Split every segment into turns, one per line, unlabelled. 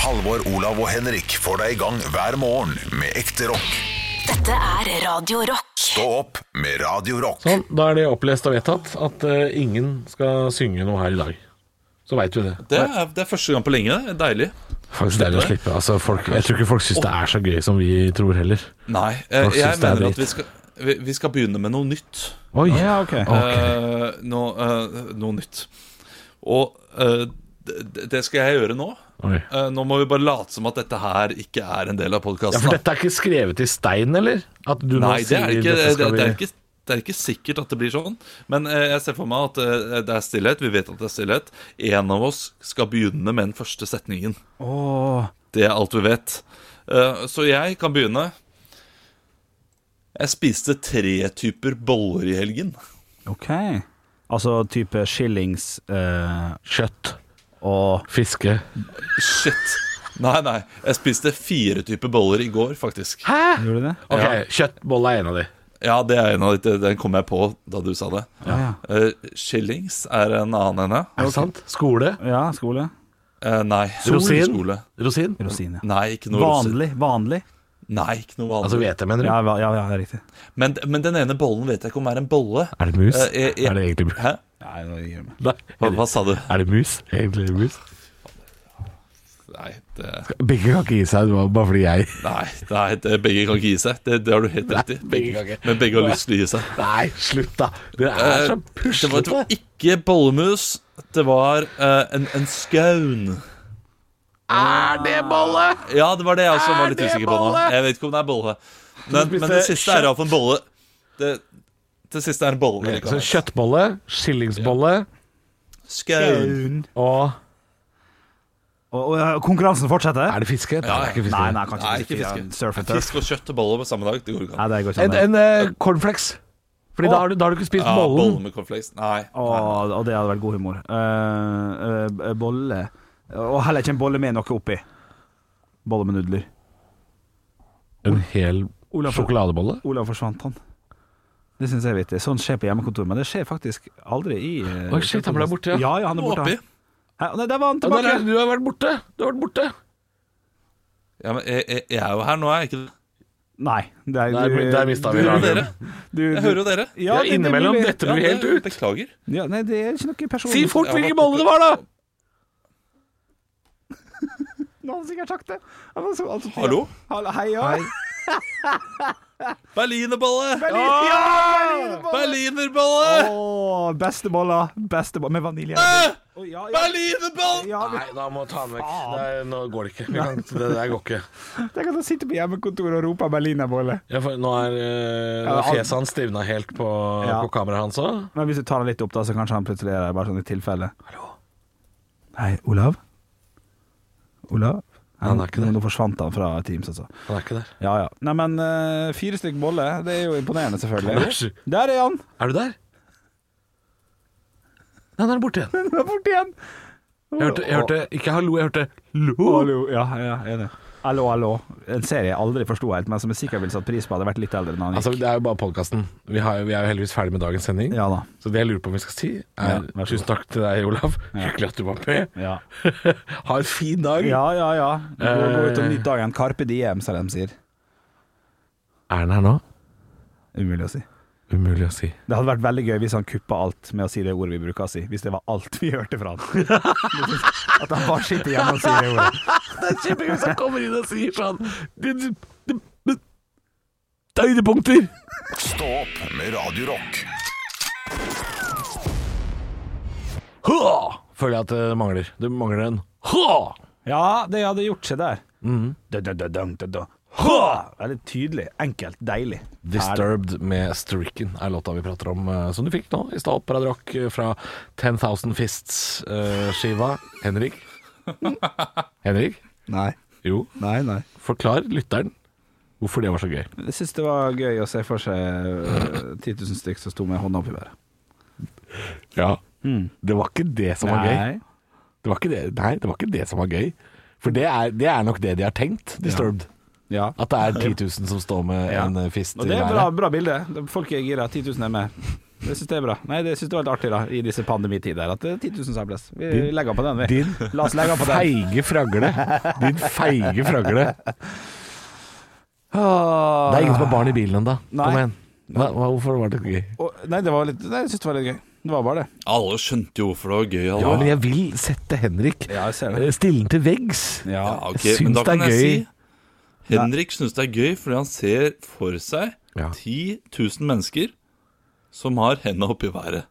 Halvor, Olav og Henrik får deg i gang hver morgen med ekte rock.
Dette er Radio Rock.
Stå opp med Radio Rock.
Sånn, da er det opplest og vedtatt at eh, ingen skal synge noe her i dag. Så veit vi det.
Det er, det er første gang på lenge. det er Deilig.
Faktisk deilig å slippe. Altså, folk, jeg tror ikke folk syns det er så gøy som vi tror heller.
Nei, eh,
Hva
jeg
synes det er
mener at
dritt?
vi skal, vi, vi skal begynne med noe nytt.
Oi,
Ja, ok.
Eh, noe, eh, noe nytt. Og eh, det, det skal jeg gjøre nå.
oi.
Eh, nå må vi bare late som at dette her ikke er en del av
Ja, for
podkasten.
dette er ikke skrevet i stein, eller? At du nå
Nei, det
sier
er, ikke,
dette
det,
skal
det er
vi
ikke det er ikke sikkert at det blir sånn, men eh, jeg ser for meg at eh, det er stillhet. Vi vet at det er stillhet. En av oss skal begynne med den første setningen.
Åh,
Det er alt vi vet. Eh, Så jeg kan begynne. Jeg spiste tre typer boller i helgen.
ok. Altså type skillings eh,
Kjøtt,
og
fiske
Shit. Nei, nei. Jeg spiste fire typer boller i går, faktisk.
Hæ?!
Gjorde du det?
Ok, kjøttbolle er en av de.
Ja, det er en av de, Den kom jeg på da du sa det.
Ja, ja.
Eh, Skillings er en annen ene.
Er det sant? Skole?
ja skole.
Eh, nei.
Sol?
Solskole.
Rosin?
Rosin, ja.
Nei, ikke noe rosin.
Vanlig. Vanlig.
Nei, ikke noe vanlig.
Altså hvete, mener du?
Ja, va- ja, ja riktig.
men, men den ene bollen vet jeg ikke om er en bolle.
Er det mus?
Eh, jeg- jeg-
Er det egentlig mus?
Hæ?
Nei, nå gir jeg meg.
Nei.
Hva, hva sa du?
Er det mus? Egentlig er det mus?
Nei, det
Begge kan ikke gi seg, det var bare fordi jeg
Nei, nei det, begge kan ikke gi seg. Det, det har du helt rett i.
Nei, begge kan ikke.
Men begge har lyst til å gi seg.
Nei, slutt, da! Det er så
Eh, det, var, det
puslete!
var ikke bollemus. Det var eh, en, en skaun.
Er det bolle?!
Ja, det var det jeg også
Er
var litt
det
usikker på. nå
bolle?
Jeg vet ikke om det er bolle. Men, men det
spiste
siste er iallfall en bolle. Det, det siste er en bolle.
Så kjøttbolle, skillingsbolle
Skaun.
og
Og, og ja, konkurransen fortsetter?
Er det fiske? Nei, det er ikke fiske.
Nei, nei, kanskje
Nei,
ikke
ikke
fiske.
fiske.
Surf and turf.
Fisk og kjøtt og bolle på samme dag, det går ikke
Nei,
an.
det går ikke
En,
sånn.
en eh, cornflakes. Fordi da, har du, da har du ikke spist
Ja, bolle
bollen.
med cornflakes. Nei.
Og, og det hadde vært god humor. Eh, eh, bolle Og heller ikke en bolle med noe oppi. Bolle med nudler.
En hel
Olav-
sjokoladebolle?
Olav forsvant, han. Det syns jeg er vittig. Sånn skjer på hjemmekontor, men det skjer faktisk aldri i eh,
Oi, shit, han ble borte, ja.
Ja, ja, han er
Må
borte.
oppi.
han. Hæ, nei, der var han
Ja, der
tilbake.
er- du har vært borte! Du har vært borte.
Ja, men jeg, jeg, jeg er jo her nå, er jeg ikke det?
Nei, det er,
Der, der mista vi
Jeg hører jo
radioen.
dere. Jeg hører jo dere.
Ja,
det- det er
innimellom
mulig.
detter du
Ja,
helt
det-
ut.
Beklager.
Ja, nei, det er ikke noe personlig.
Si fort hvilken bolle det var, da!
Nå hadde jeg sikkert sagt det. Jeg var så- altså,
Hallo?
Hallo, Hei, ja.
Berlinerbolle!
Berlin, ja!
Berlinerbolle!
Åh, beste bolla. Beste bolla med vanilje. Å, ja, ja.
Berlinerboll!
Ja, vi-
Nei, da må ta den vekk. Nei, nå går det ikke. Vi kan, det der går ikke.
Tenk at han sitter på hjemmekontoret og roper berlinerbolle.
Ja, for nå er eh, nå er fjeset hans stivna helt på,
Ja.
på kameraet hans òg.
Men hvis du tar han litt opp, da, så kanskje han plutselig er der, bare sånn i tilfelle. Hei, Olav? Olav?
Han er ikke
Nå-
der.
Nå forsvant han fra Teams, altså.
Han er ikke der.
Ja, ja. Nei, men eh, fire stykk bolle, det er jo
Han
imponerende,
er
selvfølgelig.
sju.
Der er han!
Er du der? Nei, han er borte igjen.
Han er borte igjen!
Jeg hørte, jeg hørte ikke hallo, jeg hørte
Å,
lo.
Hallo. Ja, ja, enig. Hallo, hallo. En serie jeg aldri forsto helt, men som jeg sikkert ville satt pris på hadde vært litt eldre enn han gikk.
Altså, det er jo bare podkasten. Vi, har jo- vi er jo heldigvis ferdig med dagens sending.
Ja da.
Så det jeg lurer på om vi skal si,
Ja,
er
vær så
tusen takk til deg, Olav. Hyggelig at du var med.
Ja,
ha en fin dag.
ja, ja. ja. Gå, gå ut og
Eh.
nyt dagen. Carpe diem, som de sier.
Er den her nå?
Umulig å si.
Umulig å si.
Det hadde vært veldig gøy hvis han kuppa alt med å si det ordet vi bruker å si. Hvis det var alt vi hørte fra han. At han bare sitter hjemme og sier det ordet.
Det er kjempegøy hvis han kommer inn og sier sånn det- det- det- det- Høydepunkter!
Stå opp med Radio Rock.
Ha! Føler jeg at det mangler. Det mangler en ha!
Ja, det hadde gjort seg der.
Mm.
Da, da, da, dang, da, da. Ha! Veldig tydelig, enkelt, deilig.
Disturbed med Stricken er låta vi prater om, eh, som du fikk nå i stad på Radio Rock eh, fra 10,000 Fists-skiva. eh, Henrik? Henrik?
Nei,
Jo,
nei, nei.
forklar lytteren hvorfor det var så gøy.
Jeg syns det var gøy å se for seg øh, 10 000 stykk som sto med hånda opp i været.
Ja. Det var ikke det som var gøy.
Nei.
Det var ikke det, nei, det var ikke det som var gøy. For det er, det er nok det de har tenkt, Disturbed.
Ja.
At det er 10 000 som står med en eh, fist
Og
i
det er bra,
været.
bra bilde. Folk er gira. 10 000 er med. Jeg syns det er bra. Nei, det syns det var litt artig da i disse pandemitider at øh, det er 10 000 samles. Vi legger på den, vi.
Din
La oss legge på den.
feige fragle. Din feige fragle. Det er ingen som har barn i bilen ennå. Kom
Nei.
igjen. Hva, hva- hvorfor var det ikke gøy?
Og- Nei, det var litt Nei, jeg syns det var litt gøy. Det var bare det.
Alle skjønte jo hvorfor det var gøy.
Ja, men
Alle.
jeg vil sette Henrik
Ja, jeg ser det.
eh, stille den til veggs.
Ja.
Ja, ok,
Jeg syns
men da
det er
kan jeg
gøy.
si Henrik syns det er gøy fordi han ser for seg
Ja.
10 000 mennesker som har henda oppi været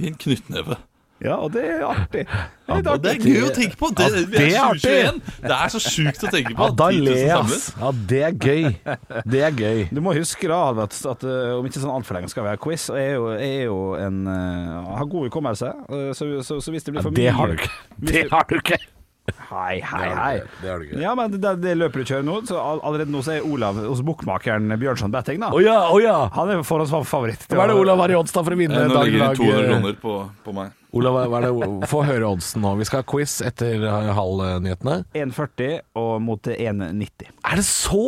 i en knyttneve.
ja, og det er artig. Det er
Og
litt
det er
artig.
gøy å tenke på! Det,
Ja,
vi er
det er artig.
2021! Det er så sjukt å tenke på!
Ja, da
10 000
ler jeg,
sammen.
ass. Ja, det er gøy. Det er gøy.
Du må huske da, Albert, at eh, om ikke sånn altfor lenge skal vi ha quiz. Og jeg er jo, jeg er jo en eh, har god hukommelse, eh, så, så, så hvis det blir for mye
Det har du ikke. Det har du ikke.
Hei, hei, hei.
Det har du ikke.
Ja, men det, det løpet du kjører nå, så all- allerede nå så er Olav hos bokmakeren Bjørnson Betting, da.
Å ja, å ja.
Han er forhåndsfavoritt.
Hva er det Olav har i odds da for å vinne?
Eh, Nå
dag i
ligger det
dag?
200 kroner på, på meg.
Olav, hva er det Få høre oddsen nå. Vi skal ha quiz etter eh, halvnyhetene.
1,40 og mot 1,90.
Er det så?!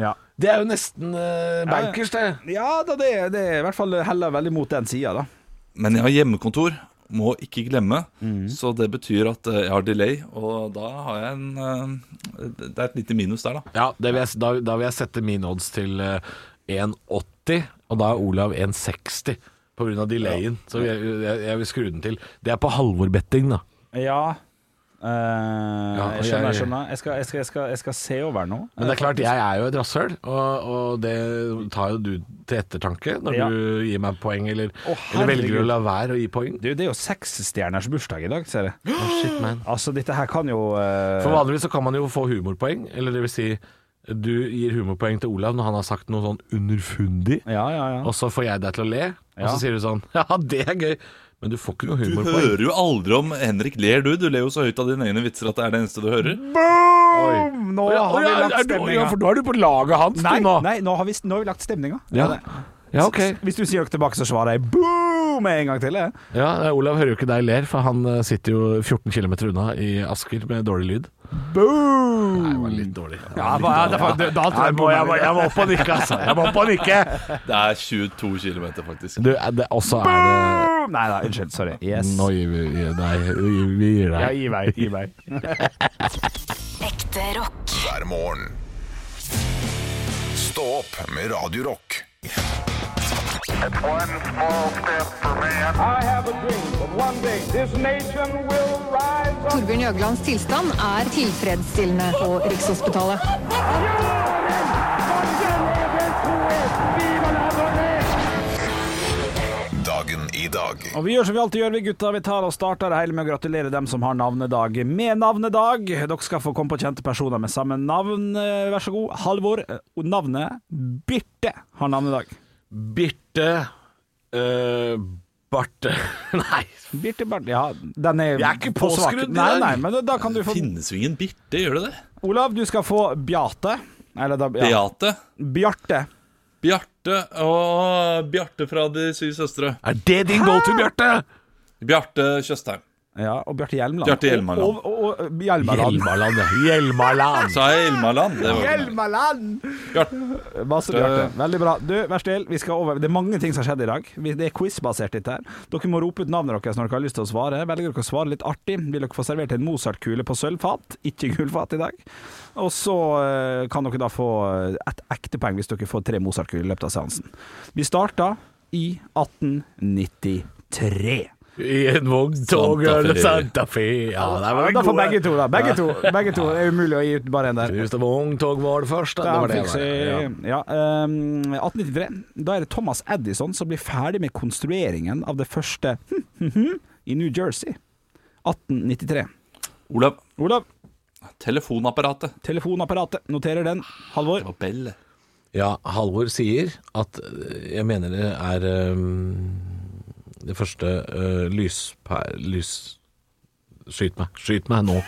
Ja.
Det er jo nesten eh, bankers, det.
Ja da, det, det er i hvert fall heller veldig mot den sida, da.
Men jeg har hjemmekontor, må ikke glemme. Så det betyr at eh, jeg har delay, og da har jeg en eh, Det er et lite minus der, da.
Ja, det vil jeg, da, da vil jeg sette min odds til eh, 1,80, og da er Olav 1,60 på grunn av delayen. Så jeg, jeg, jeg vil skru den til. Det er på Halvor-betting, da.
Ja. Eh, jeg skjønner, jeg
jeg-
skjønner. Jeg skal, jeg skal, jeg skal, jeg skal se over nå.
Men det er klart, jeg er jo et rasshøl, og, og det tar jo du til ettertanke når
Ja.
du gir meg poeng, eller,
Å,
eller velger
herregud.
å la være å gi poeng.
Du, det er jo seksstjerners bursdag i dag, ser jeg.
Oh, Shit, man.
Altså, dette her kan jo eh,
For vanligvis så kan man jo få humorpoeng, eller det vil si du gir humorpoeng til Olav når han har sagt noe sånn underfundig,
Ja, ja, ja.
og så får jeg deg til å le, og
Ja.
så sier du sånn Ja, det er gøy, men du får ikke noe
Du
humorpoeng.
hører jo aldri om Henrik ler, du. Du ler jo så høyt av dine egne vitser at det er det eneste du hører.
Boom! Nå
Å ja, å
har vi
ja,
lagt
er du- å ja,
stemninga.
for nå er du på laget hans,
Nei,
du nå.
nei nå, har vi, nå har vi lagt stemninga.
Ja. ja, ok.
Hvis du sier dere tilbake, så svarer jeg boom med en gang til. Jeg.
Ja, Olav hører jo ikke deg ler, for han eh, sitter jo 14 km unna i Asker med dårlig lyd.
Boom!
Nei, det var litt dårlig.
Ja, hva- ja, det er fa- det- da tror jeg
jeg, må,
bommer
jeg, må,
litt.
jeg må opp og nikke, altså. Jeg må opp og nikke.
Det er 22 km, faktisk.
Du, er det, også er det
Boom! Nei da, unnskyld. Sorry. Yes.
Nå gir vi gir deg. Vi vi gir
Ja,
deg.
gi meg. Gi meg.
Ekte rock.
hver morgen. Stå opp med Radio Rock.
One small step for man.
I have a dream that one day this nation will rise up.
Torbjørn Jøglands tilstand er tilfredsstillende på Rikshospitalet.
Dagen i dag.
Og vi gjør som vi alltid gjør, vi gutta. Vi tar og starter det hele med å gratulere dem som har navnedag med navnedag. Dere skal få komme på kjente personer med samme navn. Eh, Vær så god. Halvor. eh, og Navnet Birte har navnedag.
Birte eh, Barte Nei.
Birte Bart... Ja, den er
Jeg er ikke
på svak-
påskrudd i
Nei,
dag.
nei, men da kan du få
Finnes jo ingen Birte, gjør det det?
Olav, du skal få Beate. Eller da ja.
Beate.
Bjarte.
Bjarte og Bjarte fra De syv søstre.
Er det din go to, Bjarte?
Bjarte Tjøstheim.
Ja, og Bjarte Hjelmeland.
Bjarte Hjelmeland.
Og, og, og, og Hjelmeland.
Hjelmaland. ja. Hjelmaland.
Sa jeg Elmaland? Det var ikke meg.
Hjelmeland!
Bjarte.
Masse Bjarte. Veldig bra. Du, vær still. Vi skal over. Det er mange ting som har skjedd i dag. Vi- Det er quiz-basert, dette her. Dere må rope ut navnet deres når dere har lyst til å svare. Velger dere å svare litt artig, vil dere få servert en Mozart-kule på sølvfat, ikke gullfat i dag. Og så eh, kan dere da få eh, et ekte poeng hvis dere får tre Mozart-kuler i løpet av seansen. Vi starta i 1893.
I en vogntog
Santa Fe.
eller Santa Fe. Ja, det var
Ja, da får
gode.
begge to, da. Begge to. Begge to. Det er umulig å gi ut bare én der.
Knust av vogntog var det første. Det
Ja,
var det. det
fikk
var. Ja.
se- ja, ehm, 1893. Da er det Thomas Edison som blir ferdig med konstrueringen av det første i New Jersey. 1893.
Olav.
Olav,
Telefonapparatet.
telefonapparatet. Noterer den. Halvor.
Det var Bell.
Ja, Halvor sier at øh, jeg mener det er øh, det første øh, lyspære Lys... Skyt meg. Skyt meg nå.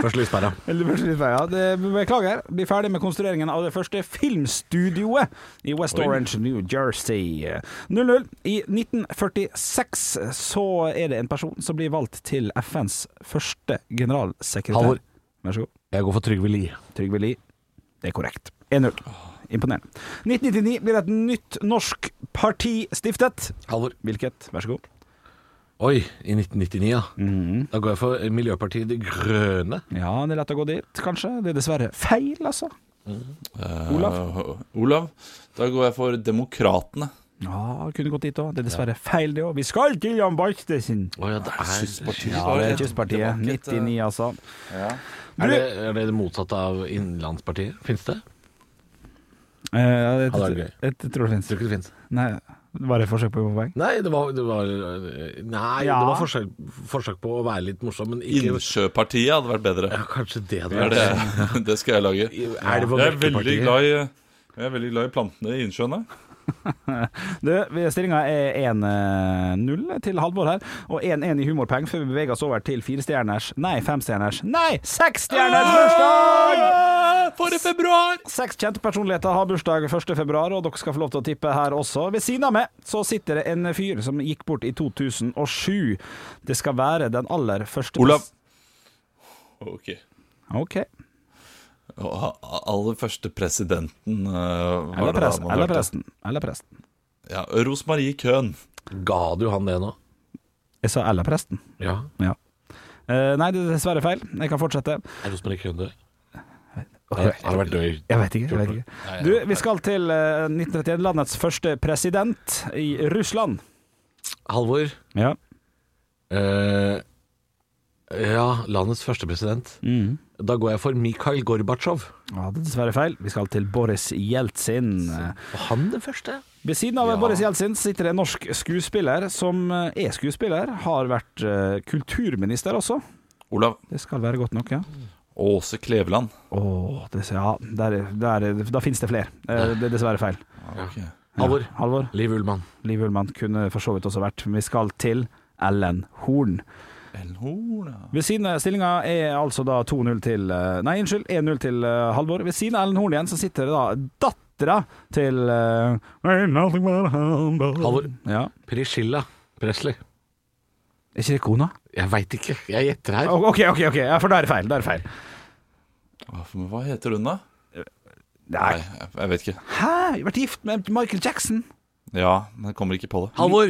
Først lyspæra.
Eller først litt feil, ja. Det- Beklager. Blir ferdig med konstrueringen av det første filmstudioet i West Orange, New Jersey. 00. I 1946 så er det en person som blir valgt til FNs første generalsekretær.
Halvor.
Vær så god.
Jeg går for Trygve Lie.
Trygve Lie. Det er korrekt. 1-0. Imponerende. 1999 blir et nytt norsk parti stiftet?
Halvor.
Hvilket? Vær så god.
Oi, i 1999, ja.
Mhm.
Da går jeg for Miljøpartiet De Grønne.
Ja, det er lett å gå dit, kanskje. Det er dessverre feil, altså. Olav?
Eh, Olav. Da går jeg for Demokratene.
Ja, kunne gått dit òg. Det er dessverre feil, det òg. Vi skal til Jan Baltesen!
Å ja, det er,
Kystpartiet.
Ja, det er Kystpartiet. 99, altså.
er, det, er det det motsatte av Innenlandspartiet? Fins det?
Eh, ja, det,
Ja, det er gøy.
det, det
Tror
tror jeg finnes.
ikke det fins.
Nei, var det forsøk på å få poeng?
Nei, det var, det var, nei,
Ja.
det var forsøk, forsøk på å være litt morsom, men ikke
Innsjøpartiet hadde vært bedre.
ja, Kanskje det hadde
Det, er
vært
det, det skal jeg lage.
Er det
Jeg er veldig
Melkepartiet?
glad i jeg er veldig glad i plantene i innsjøen. jeg.
Du, Stillinga er 1-0 til Halvor her, og 1-1 i humorpeng før vi beveger oss over til firestjerners, nei, femstjerners, nei, seksstjerners bursdag!
For i februar!
Seks kjente personligheter har bursdag 1. februar, og dere skal få lov til å tippe her også. Ved siden av meg så sitter det en fyr som gikk bort i 2007. Det skal være den aller første
Olav. Ok.
OK.
Og ha- aller første presidenten eh, var
Eller
det da
presten.
man
Eller
hørte.
presten. Eller presten.
Ja, Rosmarie Køhn.
Ga du han det nå?
Jeg sa eller presten.
Ja.
Ja. Eh, nei, det er dessverre feil. Jeg kan fortsette.
Er Rosmarie Køhn død? Han har vært død i
Jeg vet ikke. jeg vet ikke Du, Vi skal til eh, 1931, landets første president i Russland.
Halvor.
Ja.
Eh, ja, landets første president. Da går jeg for Mikhail Gorbatsjov.
det er dessverre feil. Vi skal til Boris Jeltsin.
Var han den første?
Ved siden av Boris Jeltsin sitter det en norsk skuespiller som eh, er skuespiller, har vært eh, kulturminister også.
Olav.
Det skal være godt nok, ja.
Åse Kleveland.
Åh, det, ja der, der, da finnes det flere. Eh, det er dessverre feil.
Ok.
Halvor.
Halvor?
Liv Ullmann.
Liv Ullmann kunne for så vidt også vært, men vi skal til Ellen Horn.
Ellen Horn, ja.
Ved siden av stillinga er altså da 2-0 til eh, Nei, unnskyld, 1-0 til eh, Halvor. Ved siden av Ellen Horn igjen så sitter det da dattera til eh, Ain't nothing but a hound dog.
Halvor.
Ja.
Priscilla Presley.
Er ikke det kona?
Jeg veit ikke. Jeg gjetter her.
O- OK, OK, ok, ja, for da er det feil. Da er det feil.
Hva for- Hva heter hun, da?
Nei.
jeg jeg vet ikke.
Hæ? Jeg har vært gift med Michael Jackson?
Ja, men jeg kommer ikke på det.
Halvor,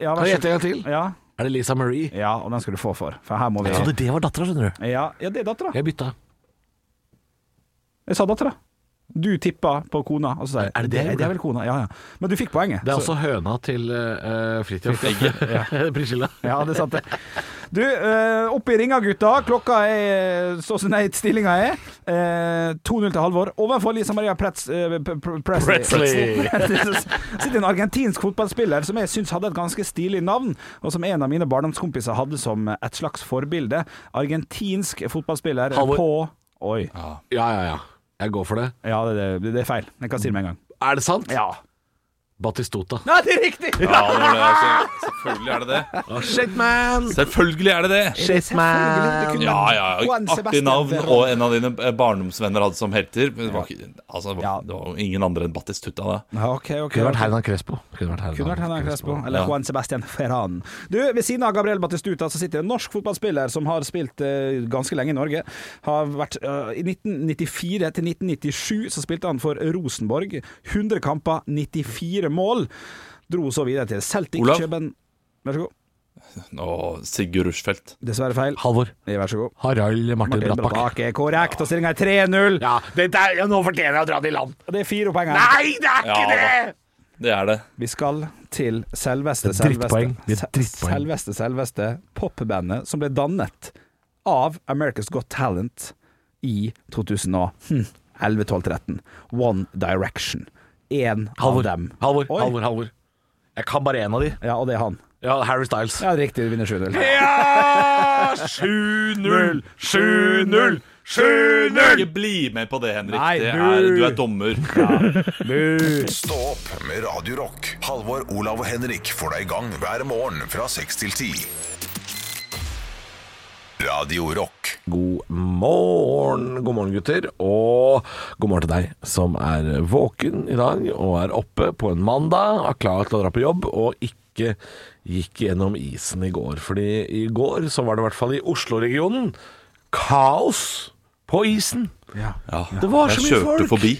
Ja,
kan jeg gjette en gang til?
Ja.
Er det Lisa Marie?
ja, og den skal du få for, for her må vi
Jeg trodde det var dattera, skjønner du.
Ja, ja det er dattera.
Jeg bytta.
Jeg sa dattera. Du tippa på kona, og så sa jeg
Er det det jeg gjorde?
Det er vel kona, ja ja. Men du fikk poenget.
Det er altså høna til uh, Fridtjof. Priscilla.
Ja, det er sant det. Du, eh, oppe i ringa, gutta. Klokka er så som nei, stillinga er. Eh, 2-0 til Halvor. Overfor Lisa Maria Pretz, eh, P- P- Presley.
Presley.
Presley. sitter en argentinsk fotballspiller som jeg syns hadde et ganske stilig navn, og som en av mine barndomskompiser hadde som et slags forbilde. Argentinsk fotballspiller
Halvor.
på Oi.
Ja, ja, ja. Jeg går for det.
Ja, det, det, det er feil. Jeg kan si det med en gang.
Er det sant?
Ja.
Batistota.
Nei, det er riktig!
Ja, det var det. altså. Selvfølgelig er det det.
Ah, shit, man!
Selvfølgelig er det det!
Shit, man!
Ja, ja, ja.
Juan
Artig
Sebastian
navn,
Verón.
og en av dine eh, barndomsvenner hadde som helter. Men det var, ikke, altså, det
Ja.
var, det var jo ingen andre enn Battistuta da.
Ja, Ok, ok.
Kunne
ok.
vært Hernan Crespo. Kunne vært
Kunne vært Hernan Crespo, eller
Ja.
Juan Sebastian Ferran. Du, Ved siden av Gabriel Batistuta så sitter det en norsk fotballspiller som har spilt eh, ganske lenge i Norge. Har vært eh, I 1994 til 1997 så spilte han for Rosenborg. 100 kamper, 94 mål. Dro så videre til Celtic
Olav?
Køben Vær så god.
Og Sigurd Rushfeldt.
Dessverre feil.
Halvor.
Ja, Vær så god.
Harald Martin
Martin
Brattbakk.
Brattbakk er korrekt, og stillinga er 3-0.
Ja, dette er, ja, nå fortjener jeg å dra det i land.
Og Det er fire poeng her.
Nei, det er ikke
Ja, da.
det!
Det er det.
Vi skal til
Det
selveste,
er
selveste,
drittpoeng. Det er drittpoeng.
selveste, selveste popbandet som ble dannet av America's Got Talent i hm, 2011-12-13. One Direction. Én av
Halvor.
dem.
Halvor,
Oi.
Halvor, Halvor. Jeg kan bare én av de.
Ja, og det er han.
Ja, Harry Styles.
Ja, riktig, du vinner 7-0.
7-0, 7-0, 7-0!
Ikke bli med på det, Henrik.
Nei,
det er,
du-
du er dommer.
Stå opp med Radio Rock. Halvor, Olav og Henrik får deg i gang hver morgen fra 6 til 10. Radio Rock.
God morgen, god morgen gutter, og god morgen til deg som er våken i dag og er oppe på en mandag, er klar til å dra på jobb og ikke gikk gjennom isen i går. Fordi i går så var det i hvert fall i Oslo-regionen kaos På isen.
Ja.
Ja.
Det var så
jeg
mye
kjørte
folk.
forbi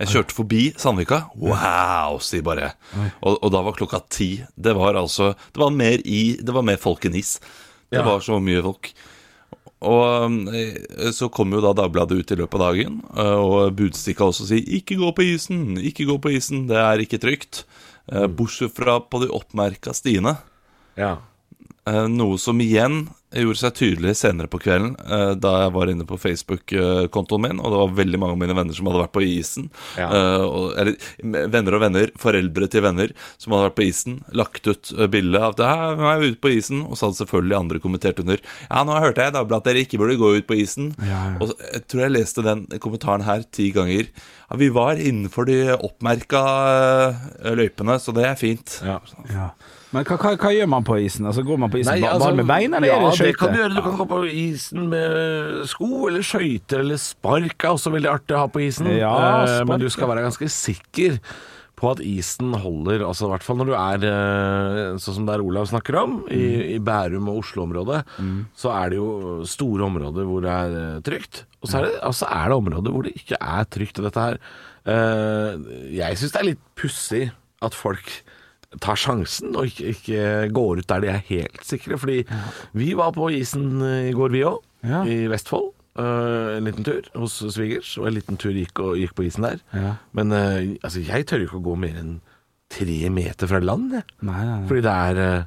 Jeg kjørte forbi Sandvika. Wow, sier bare jeg. Og, og da var klokka ti. Det var altså Det var mer, i, det var mer folk enn is. Det
Ja.
var så mye folk. Og eh, så kom jo da Dagbladet ut i løpet av dagen, eh, og budstikka også sier 'ikke gå på isen', 'ikke gå på isen', det er ikke trygt. Eh, Bortsett fra på de oppmerka stiene.
Ja.
Eh, Noe som igjen gjorde seg tydelig senere på kvelden, eh, da jeg var inne på Facebook-kontoen min, og det var veldig mange av mine venner som hadde vært på isen.
Ja.
Eh, og, eller m- venner og venner, foreldre til venner som hadde vært på isen, lagt ut eh, bilde av at «Hæ, nå er jeg ute på isen, og så hadde selvfølgelig andre kommentert under. Ja, nå hørte jeg i Dagbladet at dere ikke burde gå ut på isen.
Ja, ja.
Og så, jeg tror jeg leste den kommentaren her ti ganger. Ja, vi var innenfor de oppmerka eh, løypene, så det er fint.
ja.
Ja. Men hva, hva, hva gjør man på isen? Altså, går man på isen
Nei,
ba-
altså,
bare med bein, eller er
ja,
det
det kan du
skøyter?
gjøre. Du kan gå på isen med sko eller skøyter eller spark er også veldig artig å ha på isen.
Ja,
Eh,
spark,
men du skal være ganske sikker på at isen holder, altså i hvert fall når du er eh, sånn som der Olav snakker om, i,
Mm.
i Bærum og Oslo-området, så er det jo store områder hvor det er eh, trygt. Og så er det, altså er det områder hvor det ikke er trygt. Og dette her eh, Jeg syns det er litt pussig at folk tar sjansen og ikke, ikke går ut der de er helt sikre. Fordi vi var på isen eh, i går, vi òg,
Ja.
i Vestfold. Eh, en liten tur hos svigers, og en liten tur gikk, og, gikk på isen der.
Ja.
Men eh, altså, jeg tør jo ikke å gå mer enn tre meter fra land, jeg.
Nei, nei, nei.
Fordi det er eh,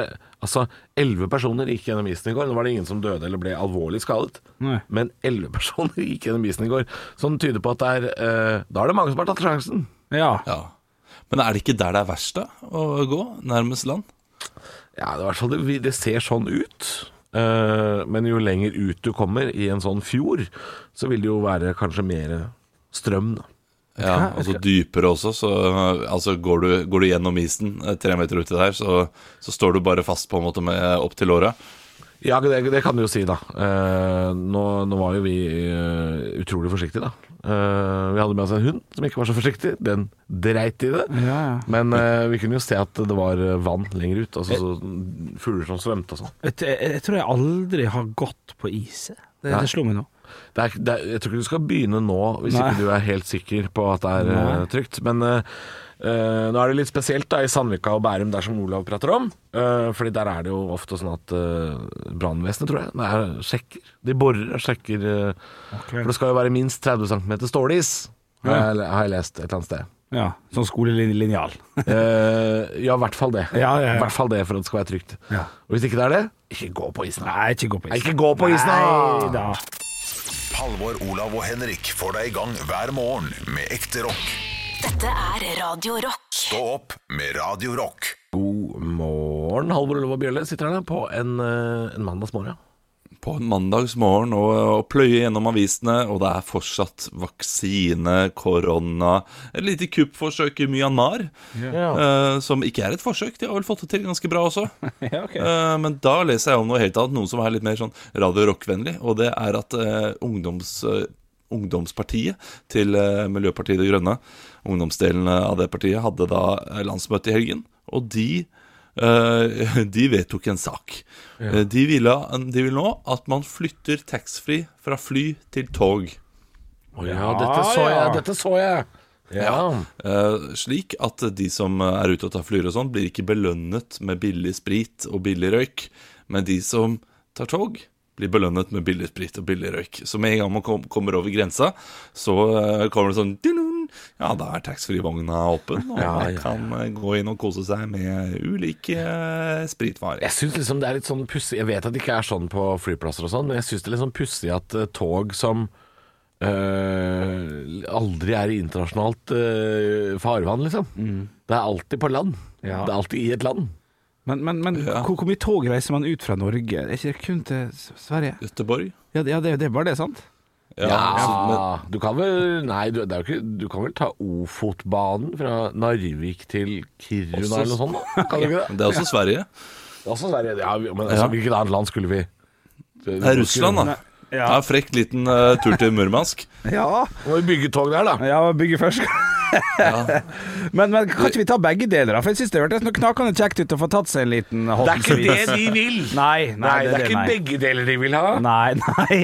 det, Altså, elleve personer gikk gjennom isen i går. Nå var det ingen som døde eller ble alvorlig skadet,
Nei.
men elleve personer gikk gjennom isen i går. Som tyder på at det er eh, Da er det mange som har tatt sjansen.
Ja.
Ja. Men er det ikke der det er verst da, å gå? Nærmest land?
Ja, det, er i hvert fall det, det ser sånn ut. Eh, men jo lenger ut du kommer i en sånn fjord, så vil det jo være kanskje mer strøm. Da.
Ja, altså dypere også. Så eh, altså går, du, går du gjennom isen eh, tre meter uti der, så, så står du bare fast på en måte med opp til låra.
Ja, det, det kan du jo si, da. Eh, nå, nå var jo vi eh, utrolig forsiktige, da. Eh, vi hadde med oss en hund som ikke var så forsiktig. Den dreit i det.
Ja, ja.
Men eh, vi kunne jo se at det var eh, vann lenger ut. Altså så fugler som svømte og sånn.
Vet du, Jeg, jeg tror jeg aldri har gått på is. jeg. Det,
Nei.
det slo meg nå.
det er, det er, jeg tror ikke du skal begynne nå hvis
Nei.
ikke du er helt sikker på at det er
Nei.
eh, trygt. Men eh, eh, nå er det litt spesielt da i Sandvika og Bærum, der som Olav prater om. Uh, fordi der er det jo ofte sånn at uh, brannvesenet, tror jeg, det er- sjekker. De borer og sjekker. eh, For det skal jo være minst 30 cm stålis, har,
Ja.
jeg, har jeg lest et eller annet sted.
Ja, Sånn skolelinjal.
Eh, ja, i hvert fall det.
Ja, ja, ja.
I hvert fall det for at det skal være trygt.
Ja.
Og hvis ikke det er det, ikke gå på isen.
Nei, ikke gå på
Nei,
is.
ikke gå på isen, da!
Nei da.
Halvor, Olav og Henrik får deg i gang hver morgen med ekte rock.
Dette er Radio Rock.
Stå opp med Radio Rock.
God morgen, Halvor Olav og Bjølle sitter her på en, eh, en mandagsmorgen.
På en mandagsmorgen og, og pløye gjennom avisene, og det er fortsatt vaksine, korona Et lite kuppforsøk i Myanmar, eh, som ikke er et forsøk. De har vel fått det til ganske bra også.
Ja, ok.
Eh, Men da leser jeg om noe helt annet, noe som er litt mer sånn Radio Rock-vennlig. Og det er at eh, ungdoms, eh, ungdomspartiet til eh, Miljøpartiet De Grønne, ungdomsdelen av det partiet, hadde da eh, landsmøte i helgen. Og de, eh, de vedtok en sak. Eh, De, ville, de vil nå at man flytter taxfree fra fly til tog.
Å ja, dette så jeg!
ja.
Dette så jeg. Ja.
Eh, slik at de som er ute og tar flyer og sånn, blir ikke belønnet med billig sprit og billig røyk, men de som tar tog, blir belønnet med billig sprit og billig røyk. Så med en gang man kom, kommer over grensa, så eh, kommer det sånn «Dun-dun!» Ja, da er taxfree-vogna åpen, og
Ja,
man
ja,
kan eh, gå inn og kose seg med ulike eh, spritvarer.
Jeg syns liksom det er litt sånn pussig Jeg vet at det ikke er sånn på flyplasser og sånn, men jeg syns det er litt sånn pussig at eh, tog som eh, aldri er i internasjonalt eh, farvann, liksom.
Mm.
Det er alltid på land.
Ja.
Det er alltid i et land.
Men, men, men hvor, hvor mye tog reiser man ut fra Norge? Er ikke det kun til S- Sverige?
Göteborg?
Ja, det, ja, det, det var det, sant?
Ja,
Ja,
så- men-
du kan vel Nei, du, det er jo ikke, du kan vel ta Ofotbanen fra Narvik til Kiruna
Også-
eller noe sånt? Da? Kan du ikke det?
men det er også Sverige.
Det er Også Sverige. Ja, vi- men altså,
Ja.
hvilket annet land skulle vi
Det er Russland, da. Ja, frekk liten eh, tur til Murmansk.
Ja,
Må vi bygge tog der, da?
ja bygge først. Men, men kan ikke vi ta begge deler, da? For jeg syns det hørtes noe knakende kjekt ut å få tatt seg en liten
Det er ikke det
Hottensvis.
de vil.
Nei, nei,
Nei, det
det
er ikke
nei.
begge deler de vil ha.
Nei, nei.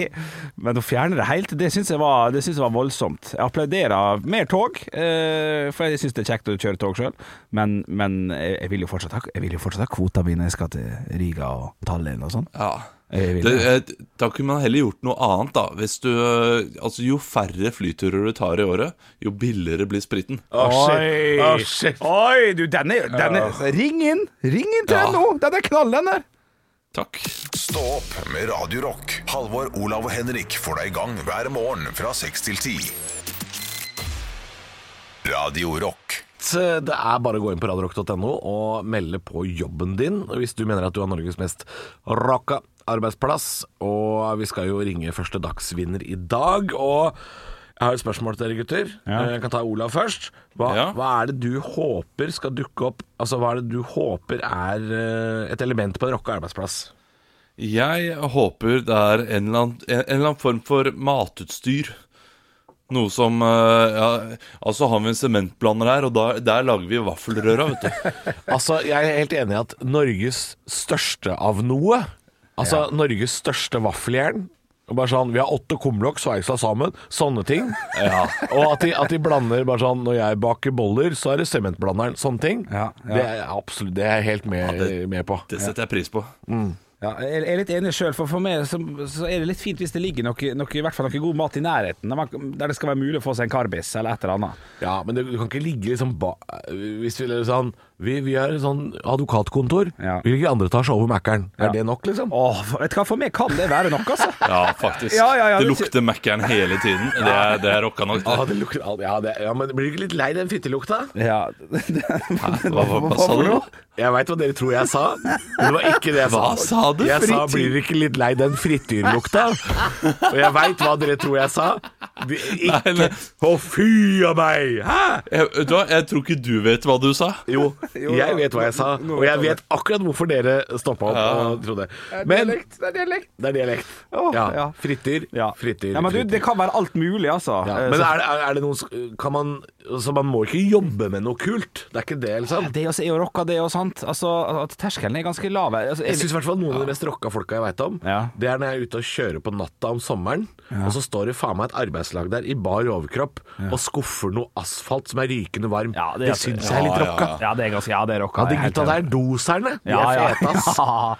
Men å fjerne det helt, det syns jeg, var- det syns jeg var voldsomt. Jeg applauderer mer tog, eh, for jeg syns det er kjekt å kjøre tog sjøl. Men, men jeg jeg vil jo fortsatt ha, jeg vil jo fortsatt ha kvota mi når jeg skal til Riga og Tallinn og sånn.
Ja.
Jeg vil
Det,
det.
eh, da kunne man heller gjort noe annet, da. Hvis du, eh, altså, jo færre flyturer du tar i året, jo billigere blir spriten.
Å, shit. Å, shit.
Oi, du, den er, den er Ring inn! Ring inn til
Ja.
NHO! Den er knall, den der!
Takk.
Stå opp med Radio Rock. Halvor, Olav og Henrik får deg i gang hver morgen fra 6 til 10. Radio Rock.
at eh, det er bare å gå inn på radiorock.no og melde på jobben din hvis du mener at du har Norges mest rocka arbeidsplass. Og vi skal jo ringe første dagsvinner i dag. Og jeg har et spørsmål til dere gutter. Eh, Jeg kan ta Olav først. Hva,
Ja.
hva er det du håper skal dukke opp? Altså, hva er det du håper er eh, et element på en rocka arbeidsplass?
Jeg håper det er en eller annen, en eller annen form for matutstyr. Noe som eh, ja, Altså har vi en sementblander her, og da, der lager vi vaffelrøra, vet du.
Altså, jeg er helt enig i at Norges største av noe Altså, Norges største vaffeljern og bare sånn, Vi har åtte kumlokk sveisa sammen, sånne ting. Og at de, at de blander bare sånn Når jeg baker boller, så er det sementblanderen. Sånne ting.
Ja, ja.
Det er absolutt, det er jeg helt med,
det-
med på.
Det setter jeg pris på.
Ja, jeg jeg er litt enig sjøl, for for meg så, så er det litt fint hvis det ligger noe, noe, i hvert fall noe god mat i nærheten, der man- der det skal være mulig å få seg en karbis eller et eller annet.
Ja, Men det, du kan ikke ligge liksom ba... Hvis vi eller sånn Vi, vi er et sånn advokatkontor.
Ja.
Vi ligger i andre etasje over Mækkern.
Ja.
Er det nok, liksom?
Åh, for- vet du hva, for meg kan det være nok, altså.
Ja, faktisk.
Ja, ja, ja,
det
det-
lukter Mækkern hele tiden. Det er, det er rocka nok.
Ja,
Det.
det lukter, ja, det, ja, men Blir du ikke litt lei den fittelukta?
Ja,
Hva, hva, hva sa du nå?
Jeg veit hva dere tror jeg sa, men det var ikke det jeg sa.
Hva sa du?
Jeg sa
Frityr.
'blir dere ikke litt lei den frityrlukta'? Og jeg veit hva dere tror jeg sa. Det-
Nei,
Ikke
nei.
Å, fy a meg! Hæ?
Jeg, Eh, vet du hva, jeg tror ikke du vet hva du sa.
Jo, jeg vet hva jeg sa, og jeg vet akkurat hvorfor dere stoppa opp og trodde. Men det
det er dialekt.
er dialekt.
Åh,
Ja.
ja.
Frityr,
Ja.
frityr,
ja, men du,
frityr.
det kan være alt mulig, altså.
Ja,
Eh,
men
så-
er det, er er det noen sk- Kan man Så man må ikke jobbe med noe kult? Det er ikke det, liksom?
det også er jo rocka, det og sant. Altså, at terskelen er ganske lav. Altså,
Jeg syns i hvert fall noen av de mest rocka folka jeg veit om,
Ja.
det er når jeg er ute og kjører på natta om sommeren, og så står det faen meg et arbeidslag der i bar overkropp og skuffer noe asfalt som er rykende varm.
Ja,
det
det er-
syns jeg er litt
Ja, ja,
rocka.
ja, det er ganske Ja, det er rocka.
Ja, de
jeg er helt
gutta
enig.
der, doserne, de
Ja, ja.
er fete, ass.
Ja.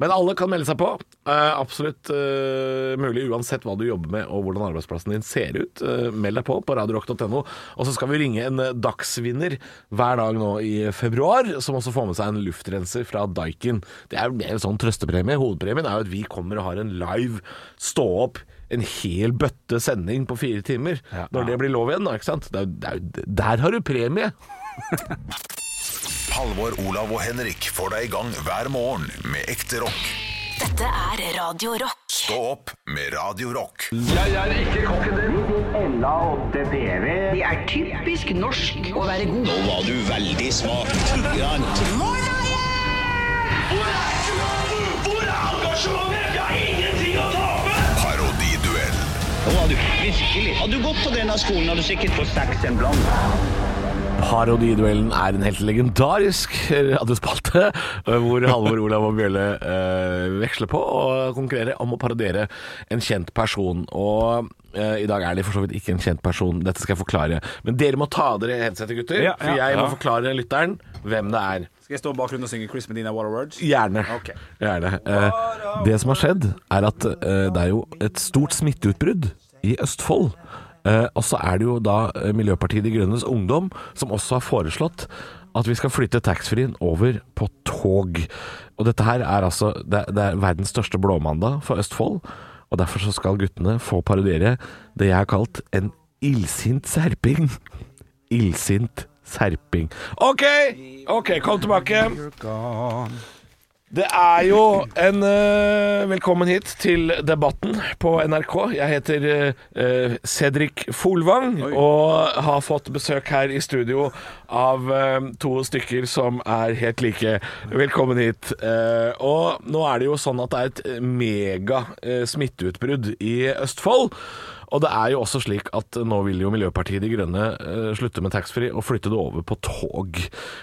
Men alle kan melde seg på. Eh, absolutt eh, mulig, uansett hva du jobber med og hvordan arbeidsplassen din ser ut. Eh, meld deg på på radiorock.no. Og så skal vi ringe en eh, dagsvinner hver dag nå i februar, som også får med seg en luftrenser fra Daikin. Det er jo mer en sånn trøstepremie. Hovedpremien er jo at vi kommer og har en live stå-opp. En hel bøtte sending på fire timer. Når det blir lov igjen, da. ikke sant? Det er, jo- det er, jo- der har du premie!
Halvor, Olav og Henrik får deg i gang hver morgen med ekte rock.
Dette er Radio Rock.
Stå opp med Radio Rock.
Det er typisk norsk å være god.
Parodiduell.
Parodiduellen er en helt legendarisk radiospalte, hvor Halvor, Olav og Bjølle eh, veksler på og konkurrerer om å parodiere en kjent person. Og eh, i dag er de for så vidt ikke en kjent person, dette skal jeg forklare. Men dere må ta av dere headsetet, gutter,
Ja,
for
ja.
jeg må
Ja.
forklare lytteren hvem det er.
Skal jeg stå bak og synge Chris Medina What a Words?
Gjerne.
Ok.
Gjerne. Eh, det som har skjedd, er at eh, det er jo et stort smitteutbrudd i Østfold. Eh, og så er det jo da eh, Miljøpartiet De Grønnes ungdom som også har foreslått at vi skal flytte taxfree-en over på tog. Og dette her er altså det, er- det er verdens største blåmandag for Østfold. Og derfor så skal guttene få parodiere det jeg har kalt en illsint serping. Illsint serping. OK! OK, kom tilbake. Det er jo en eh, Velkommen hit til Debatten på NRK. Jeg heter eh, Cedric Folvang og har fått besøk her i studio av eh, to stykker som er helt like. Velkommen hit. Eh, og nå er det jo sånn at det er et mega eh, smitteutbrudd i Østfold. Og det er jo også slik at nå vil jo Miljøpartiet De Grønne eh, slutte med taxfree og flytte det over på tog.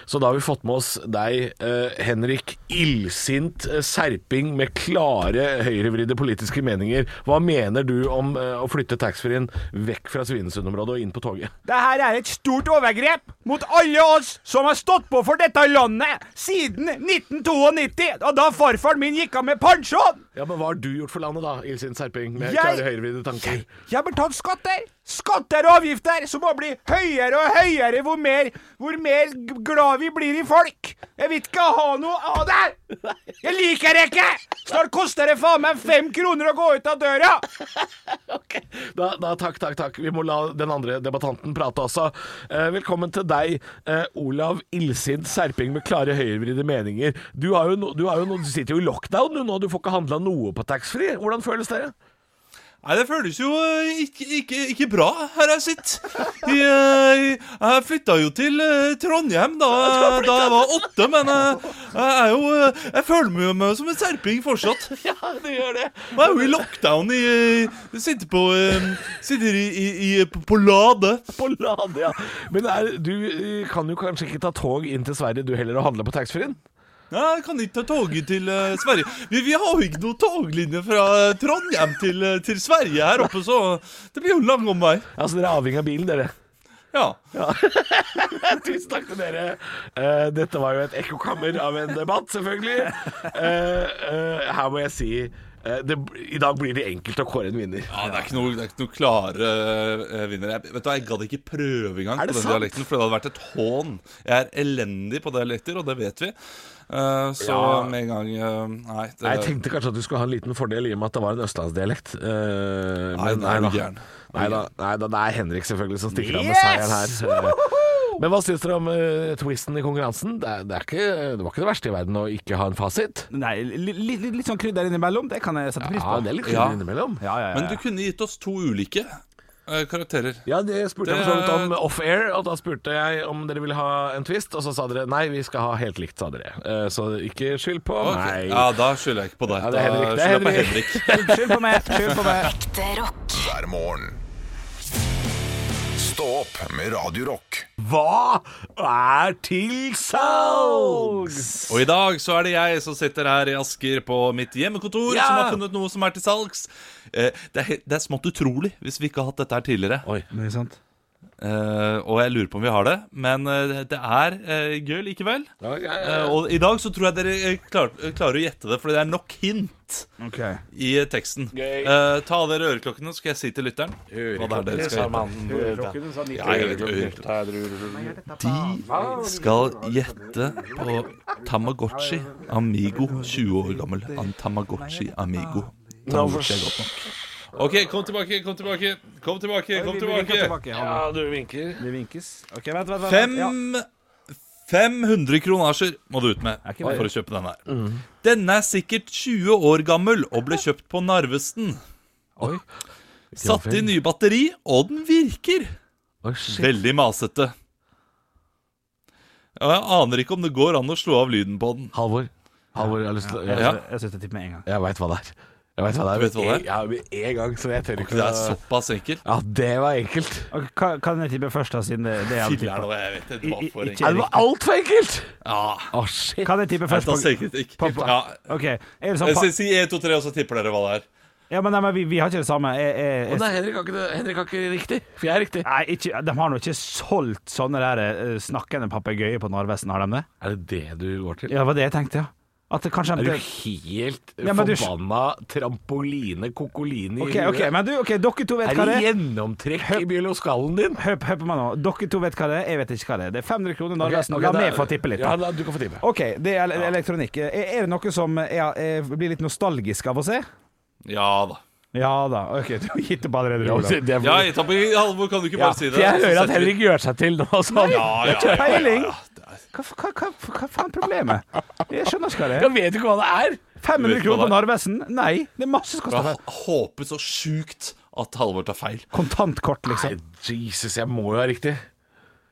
Så da har vi fått med oss deg, eh, Henrik, illsint eh, serping med klare høyrevridde politiske meninger. Hva mener du om eh, å flytte taxfree-en vekk fra Svinesund-området og inn på toget?
Det her er et stort overgrep mot alle oss som har stått på for dette landet siden 1992, og da farfaren min gikk av med pensjon.
Ja, men hva har du gjort for landet da, illsint serping med
Jeg-
klare høyrevridde tanker?
Jeg har betalt skatter. Skatter og avgifter som må bli høyere og høyere hvor mer, hvor mer g- glad vi blir i folk. Jeg vil ikke ha noe av det! Jeg liker det ikke! Snart koster det faen meg fem kroner å gå ut av døra!
Da, da, takk, takk, takk. Vi må la den andre debattanten prate også. Eh, velkommen til deg, eh, Olav Illsint Serping med klare høyrevridde meninger. Du, har jo no, du, har jo no, du sitter jo i lockdown du, nå, du får ikke handla noe på taxfree. Hvordan føles det?
Nei, det føles jo eh, ikke, ikke, ikke bra her jeg sitter. Jeg, jeg flytta jo til eh, Trondheim da, da jeg var åtte, men jeg, jeg er jo eh, Jeg føler meg jo meg som en serping fortsatt.
Ja, det gjør det.
Jeg er jo i lockdown i eh, Sitter på eh, Sitter i, i, i på- på Lade.
På lade, ja. Men er, du eh, kan jo kanskje ikke ta tog inn til Sverige, du heller, og handle på taxfree-en?
Nei, jeg kan ikke ta toget til eh, Sverige. Vi, vi har jo ikke noen toglinje fra Trondheim til, eh, til Sverige her oppe, så det blir jo lang omvei.
Altså, dere er avhengig av bilen, dere.
Ja.
Tusen takk til dere. Eh, dette var jo et ekkokammer av en debatt, selvfølgelig. Eh, eh, her må jeg si eh, det, I dag blir det enkelt å kåre en vinner.
Ja, det er ikke noe, det er ikke noe klare eh, vinnere. Jeg, vet du, hva, jeg gadd ikke prøve engang
Er
på
det
den
sant?
dialekten, for det hadde vært et hån. Jeg er elendig på dialekter, og det vet vi. Eh, så med en gang eh, Nei. Det,
Jeg tenkte kanskje at du skulle ha en liten fordel i og med at det var en østlandsdialekt. Eh,
Nei,
men da.
nei, du gæren.
Nei da, nei da, det er Henrik selvfølgelig som stikker av med seieren her. Eh, Men hva syns dere om eh, twisten i konkurransen? Det, er, det, er ikke, det var ikke det verste i verden å ikke ha en fasit.
Nei, litt sånn krydder innimellom, det kan jeg sette pris
Ja, det er litt
Ja.
kjedelig innimellom.
Ja, ja,
men du kunne gitt oss to ulike eh, karakterer.
Ja, det spurte jeg
Det-
for så vidt om off-air, og da spurte jeg om dere ville ha en twist, og så sa dere nei, vi skal ha helt likt, sa dere. Eh, Så ikke skyld på
Ok.
meg.
Ja, da skylder jeg ikke på deg.
Ja, det er Henrik, det
Da
er
skylder jeg på
Henrik.
Henrik.
Skyld på meg. Skyld på meg.
Ekte rock.
hver morgen. Stå opp med Radio Rock.
Hva er til salgs?
Og i dag så er det jeg som sitter her i Asker på mitt hjemmekontor
Ja!
som har funnet noe som er til salgs. Eh, det, er, he- det er smått utrolig hvis vi ikke har hatt dette her tidligere.
Oi.
Det er sant.
Eh, og jeg lurer på om vi har det, men eh, det er eh, gøy likevel.
Ja, ja, ja.
Eh, og i dag så tror jeg dere eh, klar, eh, klarer å gjette det, for det er nok hint
Ok.
i eh, teksten.
Gøy.
Eh, ta av dere øreklokkene, så skal jeg si til lytteren hva det er dere skal gjette. Ja, jeg vet, øreklokker. De skal gjette på Tamagotchi Amigo, 20 år gammel. En Tamagotchi Amigo. Tamagotchi er godt nok. OK, kom tilbake, kom tilbake, kom tilbake. kom tilbake
Ja, du vinker.
Det vinkes. Ok, vent, vent, vent.
Fem,
Ja.
500 kronasjer må du ut med
Er ikke det?
for å kjøpe denne. her
Mm.
Denne er sikkert 20 år gammel og ble kjøpt på Narvesen.
Oi.
Satt i nye batteri, og den virker.
Oi, shit.
Veldig masete. Ja, jeg aner ikke om det går an å slå av lyden på den.
Halvor. Halvor, jeg har lyst til å
Jeg,
Jeg,
Ja.
jeg setter tipp med en gang.
jeg veit hva det er. Jeg veit hva det er.
Du vet hva det er?
Ja, med en gang, så jeg tør ikke
Det er såpass enkelt.
Ja, det var enkelt.
Ok, ka- kan jeg tippe først, da, siden det, det er jeg
Filler'n, og jeg vet ikke hva for
Ikke
en.
Ja, det var altfor enkelt!
Ja,
Å, shit.
Kan jeg tippe
jeg
først?
tar
på-
selvkritikk.
Pappa.
Ja.
Ok, er det sånn
Jeg
pa
sier- Si 1, 2, 3, og så tipper dere hva det er.
Ja, men, nei, men vi, vi har ikke det samme. Jeg,
Men
jeg, jeg,
nei, Henrik har ikke, det- Henrik har ikke riktig, for jeg er riktig.
nei, ikke, de har nå ikke solgt sånne der eh, snakkende papegøyer på Narvesen, har de det?
Er det det du går til?
Ja, det var det jeg tenkte, ja. At det kanskje
Er du
de
helt
Ja, men du-
forbanna trampoline, kokoline
Ok,
i huet?
ok, men du, ok, dere to vet
Er
hva
det
det er.
gjennomtrekk i bioloskallen din?
Hør, hør på meg nå. Dere to vet hva det er, jeg vet ikke hva det er. Det er 500 kroner Narvesen.
Ok, ok,
La
da-
meg få tippe litt.
Ja,
da.
la, du kan få tippe.
OK, det er ele- elektronikk. Er, er det noe som jeg, jeg blir litt nostalgisk av å se?
Ja da.
Ja da. OK, du har gitt opp allerede. Olav.
Ja, jeg tar på Halvor, kan du ikke
Ja,
bare si det?
for jeg
Så
hører at
setter vi-
Henrik gjør seg til nå sånn.
Ja, ja, ja, ja,
Peiling.
ja. Det er
Hva, f- hva, hva, hva faen er problemet? Jeg skjønner ikke hva det er.
Jeg vet ikke hva det er!
500
vet hva
kroner på
det
Narvesen? Nei, det er masse som koster.
Jeg håpet så sjukt at Halvor tar feil.
Kontantkort, liksom.
Jesus, jeg må jo ha riktig.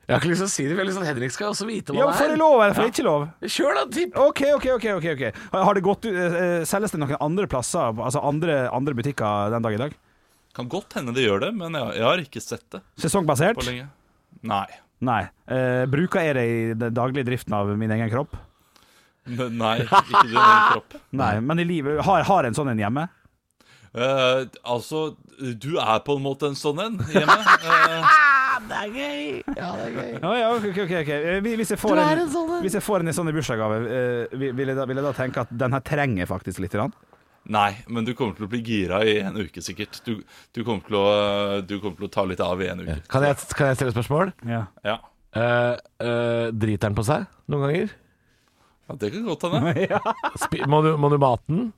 Jeg har ikke lyst til å si det, for jeg har lyst til at Henrik skal også vite hva
Ja,
det
får
er.
jeg lov, eller får jeg ikke lov?
Kjør da, tipp!
OK, OK, OK. ok, ok Har har det gått ut eh, eh, Selges det noen andre plasser, altså andre, andre butikker den dag i dag?
Kan godt hende de gjør det, men jeg, jeg har ikke sett det
Sesongbasert?
på lenge. Nei.
Nei. Eh, bruker jeg det i den daglige driften av min egen kropp?
N- Nei, ikke din egen kropp.
Nei, men i livet Har, har en sånn en hjemme?
Eh, altså, du er på en måte en sånn en hjemme. Eh,
Ja, ja, ok, ok, ok, ok. Eh, vi- Hvis jeg får en, Hvis jeg får en i sånn i bursdagsgave, eh, vi- vil, jeg da- vil jeg da tenke at den her trenger jeg faktisk litt? Grann.
nei, men du kommer til å bli gira i en uke sikkert. Du, du, kommer, til å, eh, du kommer til å ta litt av i en uke.
Kan jeg, kan jeg stille et spørsmål?
Ja.
Ja,
Eh, eh, driter den på seg noen ganger?
ja Det kan godt hende.
Spi må, du, må du mate den?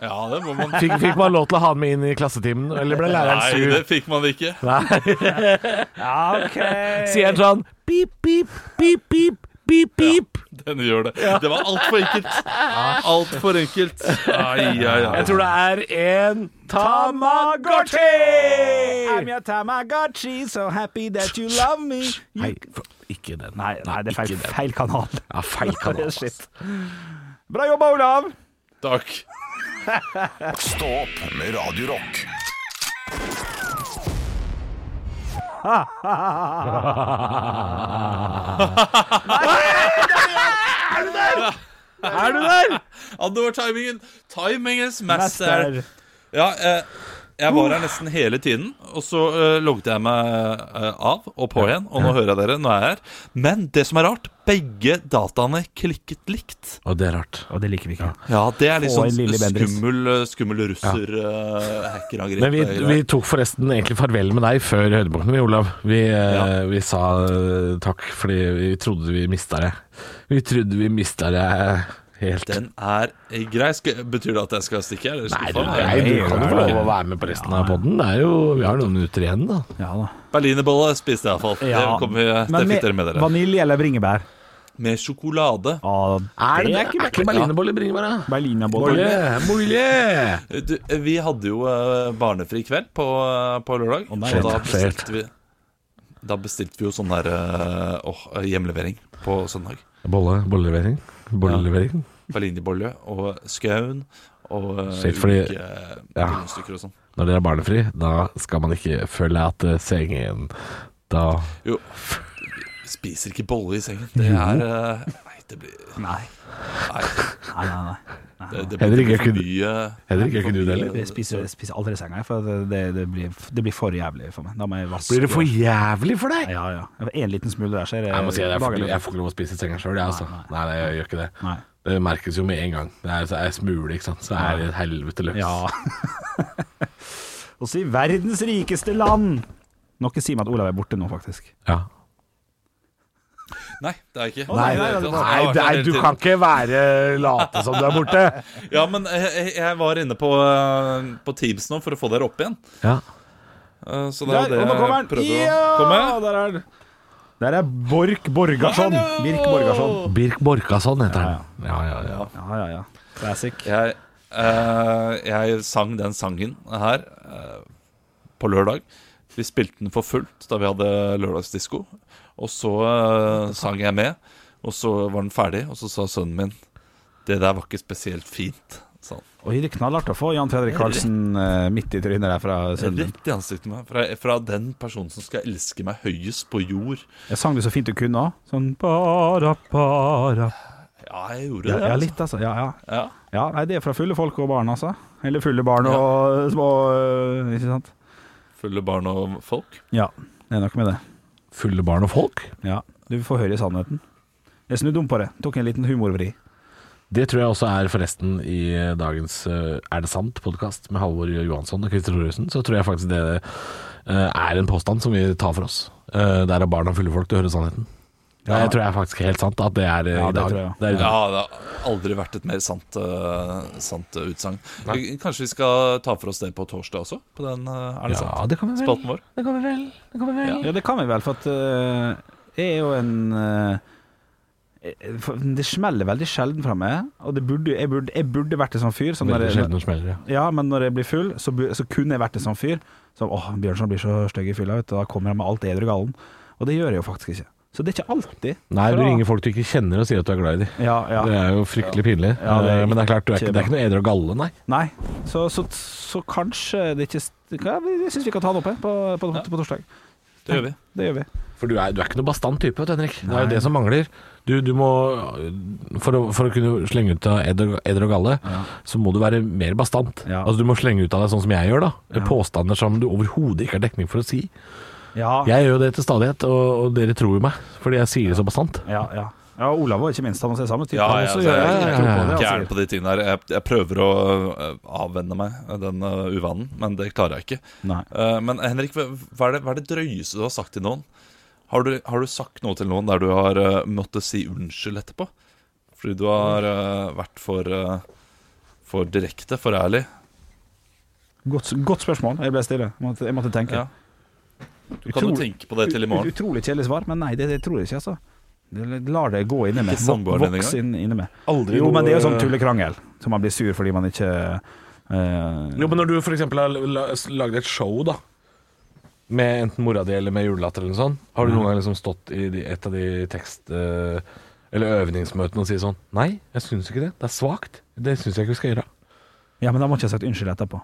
Ja, det må man
Fikk, fikk man lov til å ha den med inn i klassetimen, eller ble læreren
Nei,
sur?
det fikk man ikke.
Nei,
Ja, OK.
Sier han sånn pip, pip, pip, pip, pip, pip.
Den gjør det. Det var altfor enkelt. Altfor enkelt. Ai, ai, ai.
Jeg tror det er en
I'm your Tamagotchi, so happy that you love me. You...
Nei, for- ikke den.
Nei, nei, det er
ikke
feil,
den.
feil kanal.
Ja, feil kanal. ass.
Shit. Bra jobba, Olav!
Takk.
Stå opp med Radio Rock.
Er du der?
Andover timingen. Timingens master.
Mester.
Ja, eh, jeg var her nesten hele tiden, og så eh, logget jeg meg eh, av og på igjen. Og nå hører jeg dere. Nå er jeg her. Men det som er rart, begge dataene klikket likt.
Og det er rart.
Og det liker vi ikke.
Ja, det er litt
Få en
sånn
lille Bendriss.
skummel, eh, skummel eh, russer-hackerangrep.
Men vi, vi tok forresten egentlig farvel med deg før høydepunktene, vi, Olav. Vi, eh, vi sa eh, takk fordi vi trodde vi mista deg. Vi trodde vi mista deg helt.
Den er eh, grei. Skal, betyr det at jeg skal stikke? eller
Nei,
skuffa
du,
meg?
nei, du kan jo få lov å være med på resten av poden. Det er jo, vi har noen minutter igjen, da.
Ja da.
Berlinerbolle spiste jeg iallfall. Ja. Det, kom vi- det fikk dere med dere.
Vanilje eller bringebær?
Med sjokolade.
Ah,
Er det,
det
er ikke, ikke berlinerbolle i bringebæra?
Berlinerbolle.
Bolle, bolle!
Du, vi hadde jo eh, barnefri kveld på, eh, på lørdag.
nei.
og da
Skjønt, skjønt.
bestilte vi Da bestilte vi jo sånn der eh, åh, hjemlevering på søndag.
Bolle, bollelevering. Bollelevering.
Berlinerbolle og skaun og eh,
Skjønt, fordi-
ulike eh,
ja.
rundstykker og sånn.
Når dere er barnefri, da skal man ikke forlate sengen. Da
Jo, vi spiser ikke bolle i sengen. Det er eh, Nei, det blir
Nei.
Nei.
Nei, nei, nei.
Det, det
Henrik,
blir
er ikke
for
du-
mye
Henrik, er ikke du det, eller?
Jeg spiser, jeg spiser aldri i senga, jeg, for det, det, det, blir, det blir for jævlig for meg. Da må jeg vaske
Blir det for jævlig for deg?
Ja, ja. En liten smule der, så er det
Jeg må si at jeg får,
dagen-
ikke- jeg får ikke lov å spise i senga sjøl, jeg, altså. Nei, nei, jeg gjør ikke det.
Nei.
Det merkes jo med en gang. Det er, så er jeg smule, ikke sant. Så er det et helvete løs.
Ja. Også i verdens rikeste land. Noe sier meg at Olav er borte nå, faktisk.
Ja.
Nei, det er jeg ikke.
nei,
det er
nei,
ikke.
nei,
Jeg har vært der hele
du
tiden.
kan ikke være late som du er borte.
Ja, men jeg, jeg- jeg var inne på, eh, på Teams nå for å få dere opp igjen.
Ja.
Eh, Så det
Der,
er det
og nå kommer
jeg
han!
prøvde å
Ja,
komme.
der er den. Der er Borch Borgarsson.
Hallo!
Birk Borgarsson.
Birk Borkason heter han. Ja, ja, ja.
Ja, ja, ja. Classic.
Jeg, eh, jeg sang den sangen her eh, på lørdag. Vi spilte den for fullt da vi hadde lørdagsdisko. Og så eh, sang jeg med, og så var den ferdig, og så sa sønnen min Det der var ikke spesielt fint. sa han.
Oi, det er knallhardt å få Jan Fredrik Karlsen eh, midt i trynet der fra sønnen.
Rett i ansiktet med meg. Fra, fra den personen som skal elske meg høyest på jord.
Jeg sang det så fint du kunne òg. Sånn bara, bara.
Ja, jeg gjorde
Ja,
det.
ja,
altså.
litt, altså. Ja, ja.
Ja.
ja, nei, det er fra fulle folk og barn, altså. Eller fulle barn og små eh, Ikke sant?
Fulle barn og folk.
Ja, det er noe med det.
Fulle barn og folk?
Ja, du får høre sannheten. Jeg snudde om på det. Tok en liten humorvri.
Det tror jeg også er forresten i dagens eh, Er det sant?-podkast med Halvor Johansson og Christer Thoresen. Så tror jeg faktisk det eh, er en påstand som vi tar for oss. Eh, Det er av barn og fulle folk til å høre sannheten. Det
Ja.
tror jeg faktisk er helt sant at det er eh,
Ja,
i
det
dag.
tror jeg.
Det er i dag.
Ja, det har aldri vært et mer sant, eh, sant eh, utsagn. Kanskje vi skal ta for oss det på torsdag også? På den, eh, er det sant?
det kan vi vel.
Spalten vår.
Det kan vi vel. Det kan vi vel.
Ja, det kan vi vel, for at eh, jeg er jo en eh, eh, for Det smeller veldig sjelden fra meg, og det burde, jeg, burde, jeg burde vært en sånn fyr. Som når
Veldig
jeg,
sjelden det smeller, ja.
ja, men når jeg blir full, så, bu- så kunne jeg vært en sånn fyr som Åh, Bjørnson blir så stygg i fylla, vet du. Da kommer han med alt edru gallen. Og det gjør jeg jo faktisk ikke. Så det er ikke alltid.
Nei, du
fra-
ringer folk du ikke kjenner og sier at du er glad i dem.
Ja,
Det
ja.
er jo fryktelig pinlig.
Ja, det er
Eh, Men det er klart, du er
ikke
ikke, det er ikke noe edru galle, nei.
Nei. Så, så, så kanskje det ikke st- ja, vi- Jeg syns vi kan ta det opp her på, på, på torsdag.
Det gjør vi.
Det gjør vi.
For du er, du er ikke noe bastant type, vet du, Henrik. Det er jo det som mangler. Du, du må for å, for å kunne slenge ut av edder, edder og galle, så må du være mer bastant.
Ja.
Altså Du må slenge ut av deg sånn som jeg gjør, da. Påstander som du overhodet ikke har dekning for å si.
Ja, ja,
Jeg gjør jo det til stadighet, og, og dere tror jo meg fordi jeg sier det så bastant.
ja. ja og Olav var ikke minst, han også er samme type.
Ja, ja,
han også
altså, jeg, jeg,
gjør
er
det. tror på
ikke
det,
gæren
altså.
på de tingene her. Jeg, jeg prøver å øh, avvenne meg øh, den øh, uvanen, men det klarer jeg ikke.
Nei.
Eh, men Henrik, hva hva er, det, hva er det drøyeste du har sagt til noen? Har du, har du sagt noe til noen der du har eh, måttet si unnskyld etterpå? Fordi du har eh, vært for, eh, for direkte, for ærlig.
Godt, godt spørsmål. Jeg ble stille. Jeg måtte, jeg måtte tenke.
Ja. Du kan jo
Utrolig-
tenke på det til i
Ut-
morgen.
Utrolig kjedelig svar, men nei, det, det tror jeg ikke, altså. Det- Lar det gå inni meg.
Ikke sånn samboeren din
Voks inn, inni meg.
Aldri
Jo,
noe-
men det er jo sånn tullekrangel, så man blir sur fordi man ikke eh,
Jo, men når du f.eks. har la- lagd et show, da.
Med enten mora di eller med julelatter eller noe sånt. Har du noen gang liksom stått i de, et av de tekst... eh, eller øvningsmøtene og si sånn Nei, jeg syns ikke det. Det er svakt. Det syns jeg ikke vi skal gjøre.
Ja, men da må ikke jeg ha sagt unnskyld etterpå.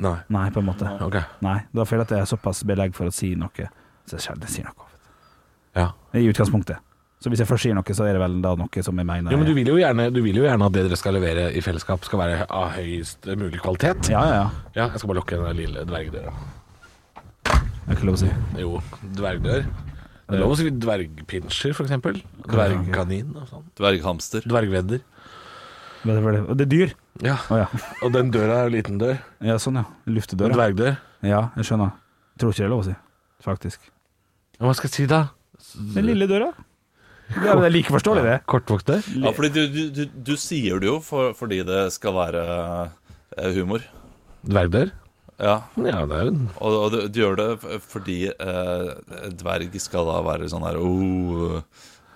Nei.
Nei, på en måte.
Ok.
Nei, da føler jeg at jeg har såpass belegg for å si noe, så jeg sjelden sier noe. vet
Ja.
du. I utgangspunktet. Så hvis jeg først sier noe, så er det vel da noe som jeg mener
Jo, men du vil jo, gjerne, du vil jo gjerne at det dere skal levere i fellesskap skal være av høyest mulig kvalitet.
Ja, ja, ja.
Ja, jeg skal bare lukke den der lille dvergdøra.
Det er ikke lov å si.
Jo, dvergdør. Det er lov å si dvergpinsjer, for eksempel. Dvergkanin og sånn.
Dverghamster.
Dvergvedder.
Men det var det- Og det er dyr.
Ja.
Å ja.
Og den døra er jo liten dør.
ja. Sånn, ja.
En
Luftedør. ja.
dvergdør.
Ja, jeg skjønner. Tror ikke det er lov å si, faktisk.
Ja, hva skal jeg si da?
Den lille døra? Det er, det er like forståelig, det.
Kortvokst dør?
Ja, fordi du, du, du, du sier det jo for, fordi det skal være eh, humor.
Dvergdør?
Ja,
Ja, det er jo en
Og, og du, du gjør det f- fordi eh, dverg skal da være sånn her oh,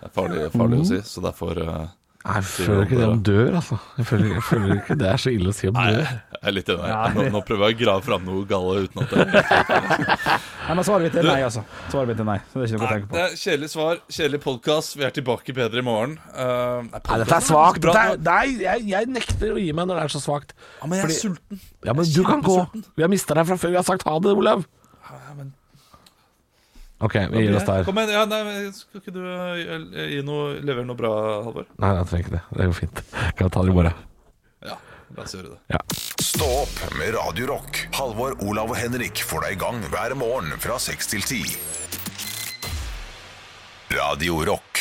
det er farlig, farlig å si, så derfor eh,
Nei, jeg føler ikke det om dør, altså. Jeg føler, jeg føler ikke det er så ille å si om
Nei,
dør.
jeg er litt enig. Nå, nå prøver jeg å grave fram noe galle uten at det
Nei, men svaret mitt er nei, altså. Svaret mitt er nei. Så det er ikke noe å
Nei, det
tenke på.
er Kjedelig svar, kjedelig podkast. Vi er tilbake bedre i morgen. Eh, nei,
Nei,
podcasten
dette er svakt.
bra.
Dette er- Nei, jeg, jeg nekter å gi meg når det er så svakt.
Ja, men jeg er
fordi-
sulten.
Ja, men du kan gå. Vi har mista deg fra før. Vi har sagt ha det, Olav. OK, vi gir oss der.
Kom igjen, ja, nei, men skal ikke du eh, gi noe, levere noe bra, Halvor?
Nei, jeg trenger ikke det. Det går fint. Kan vi ta det i morgen.
Ja, la oss gjøre det.
Stå opp med Radio Rock. Halvor, Olav og Henrik får deg i gang hver morgen fra 6 til 10. Radio Rock.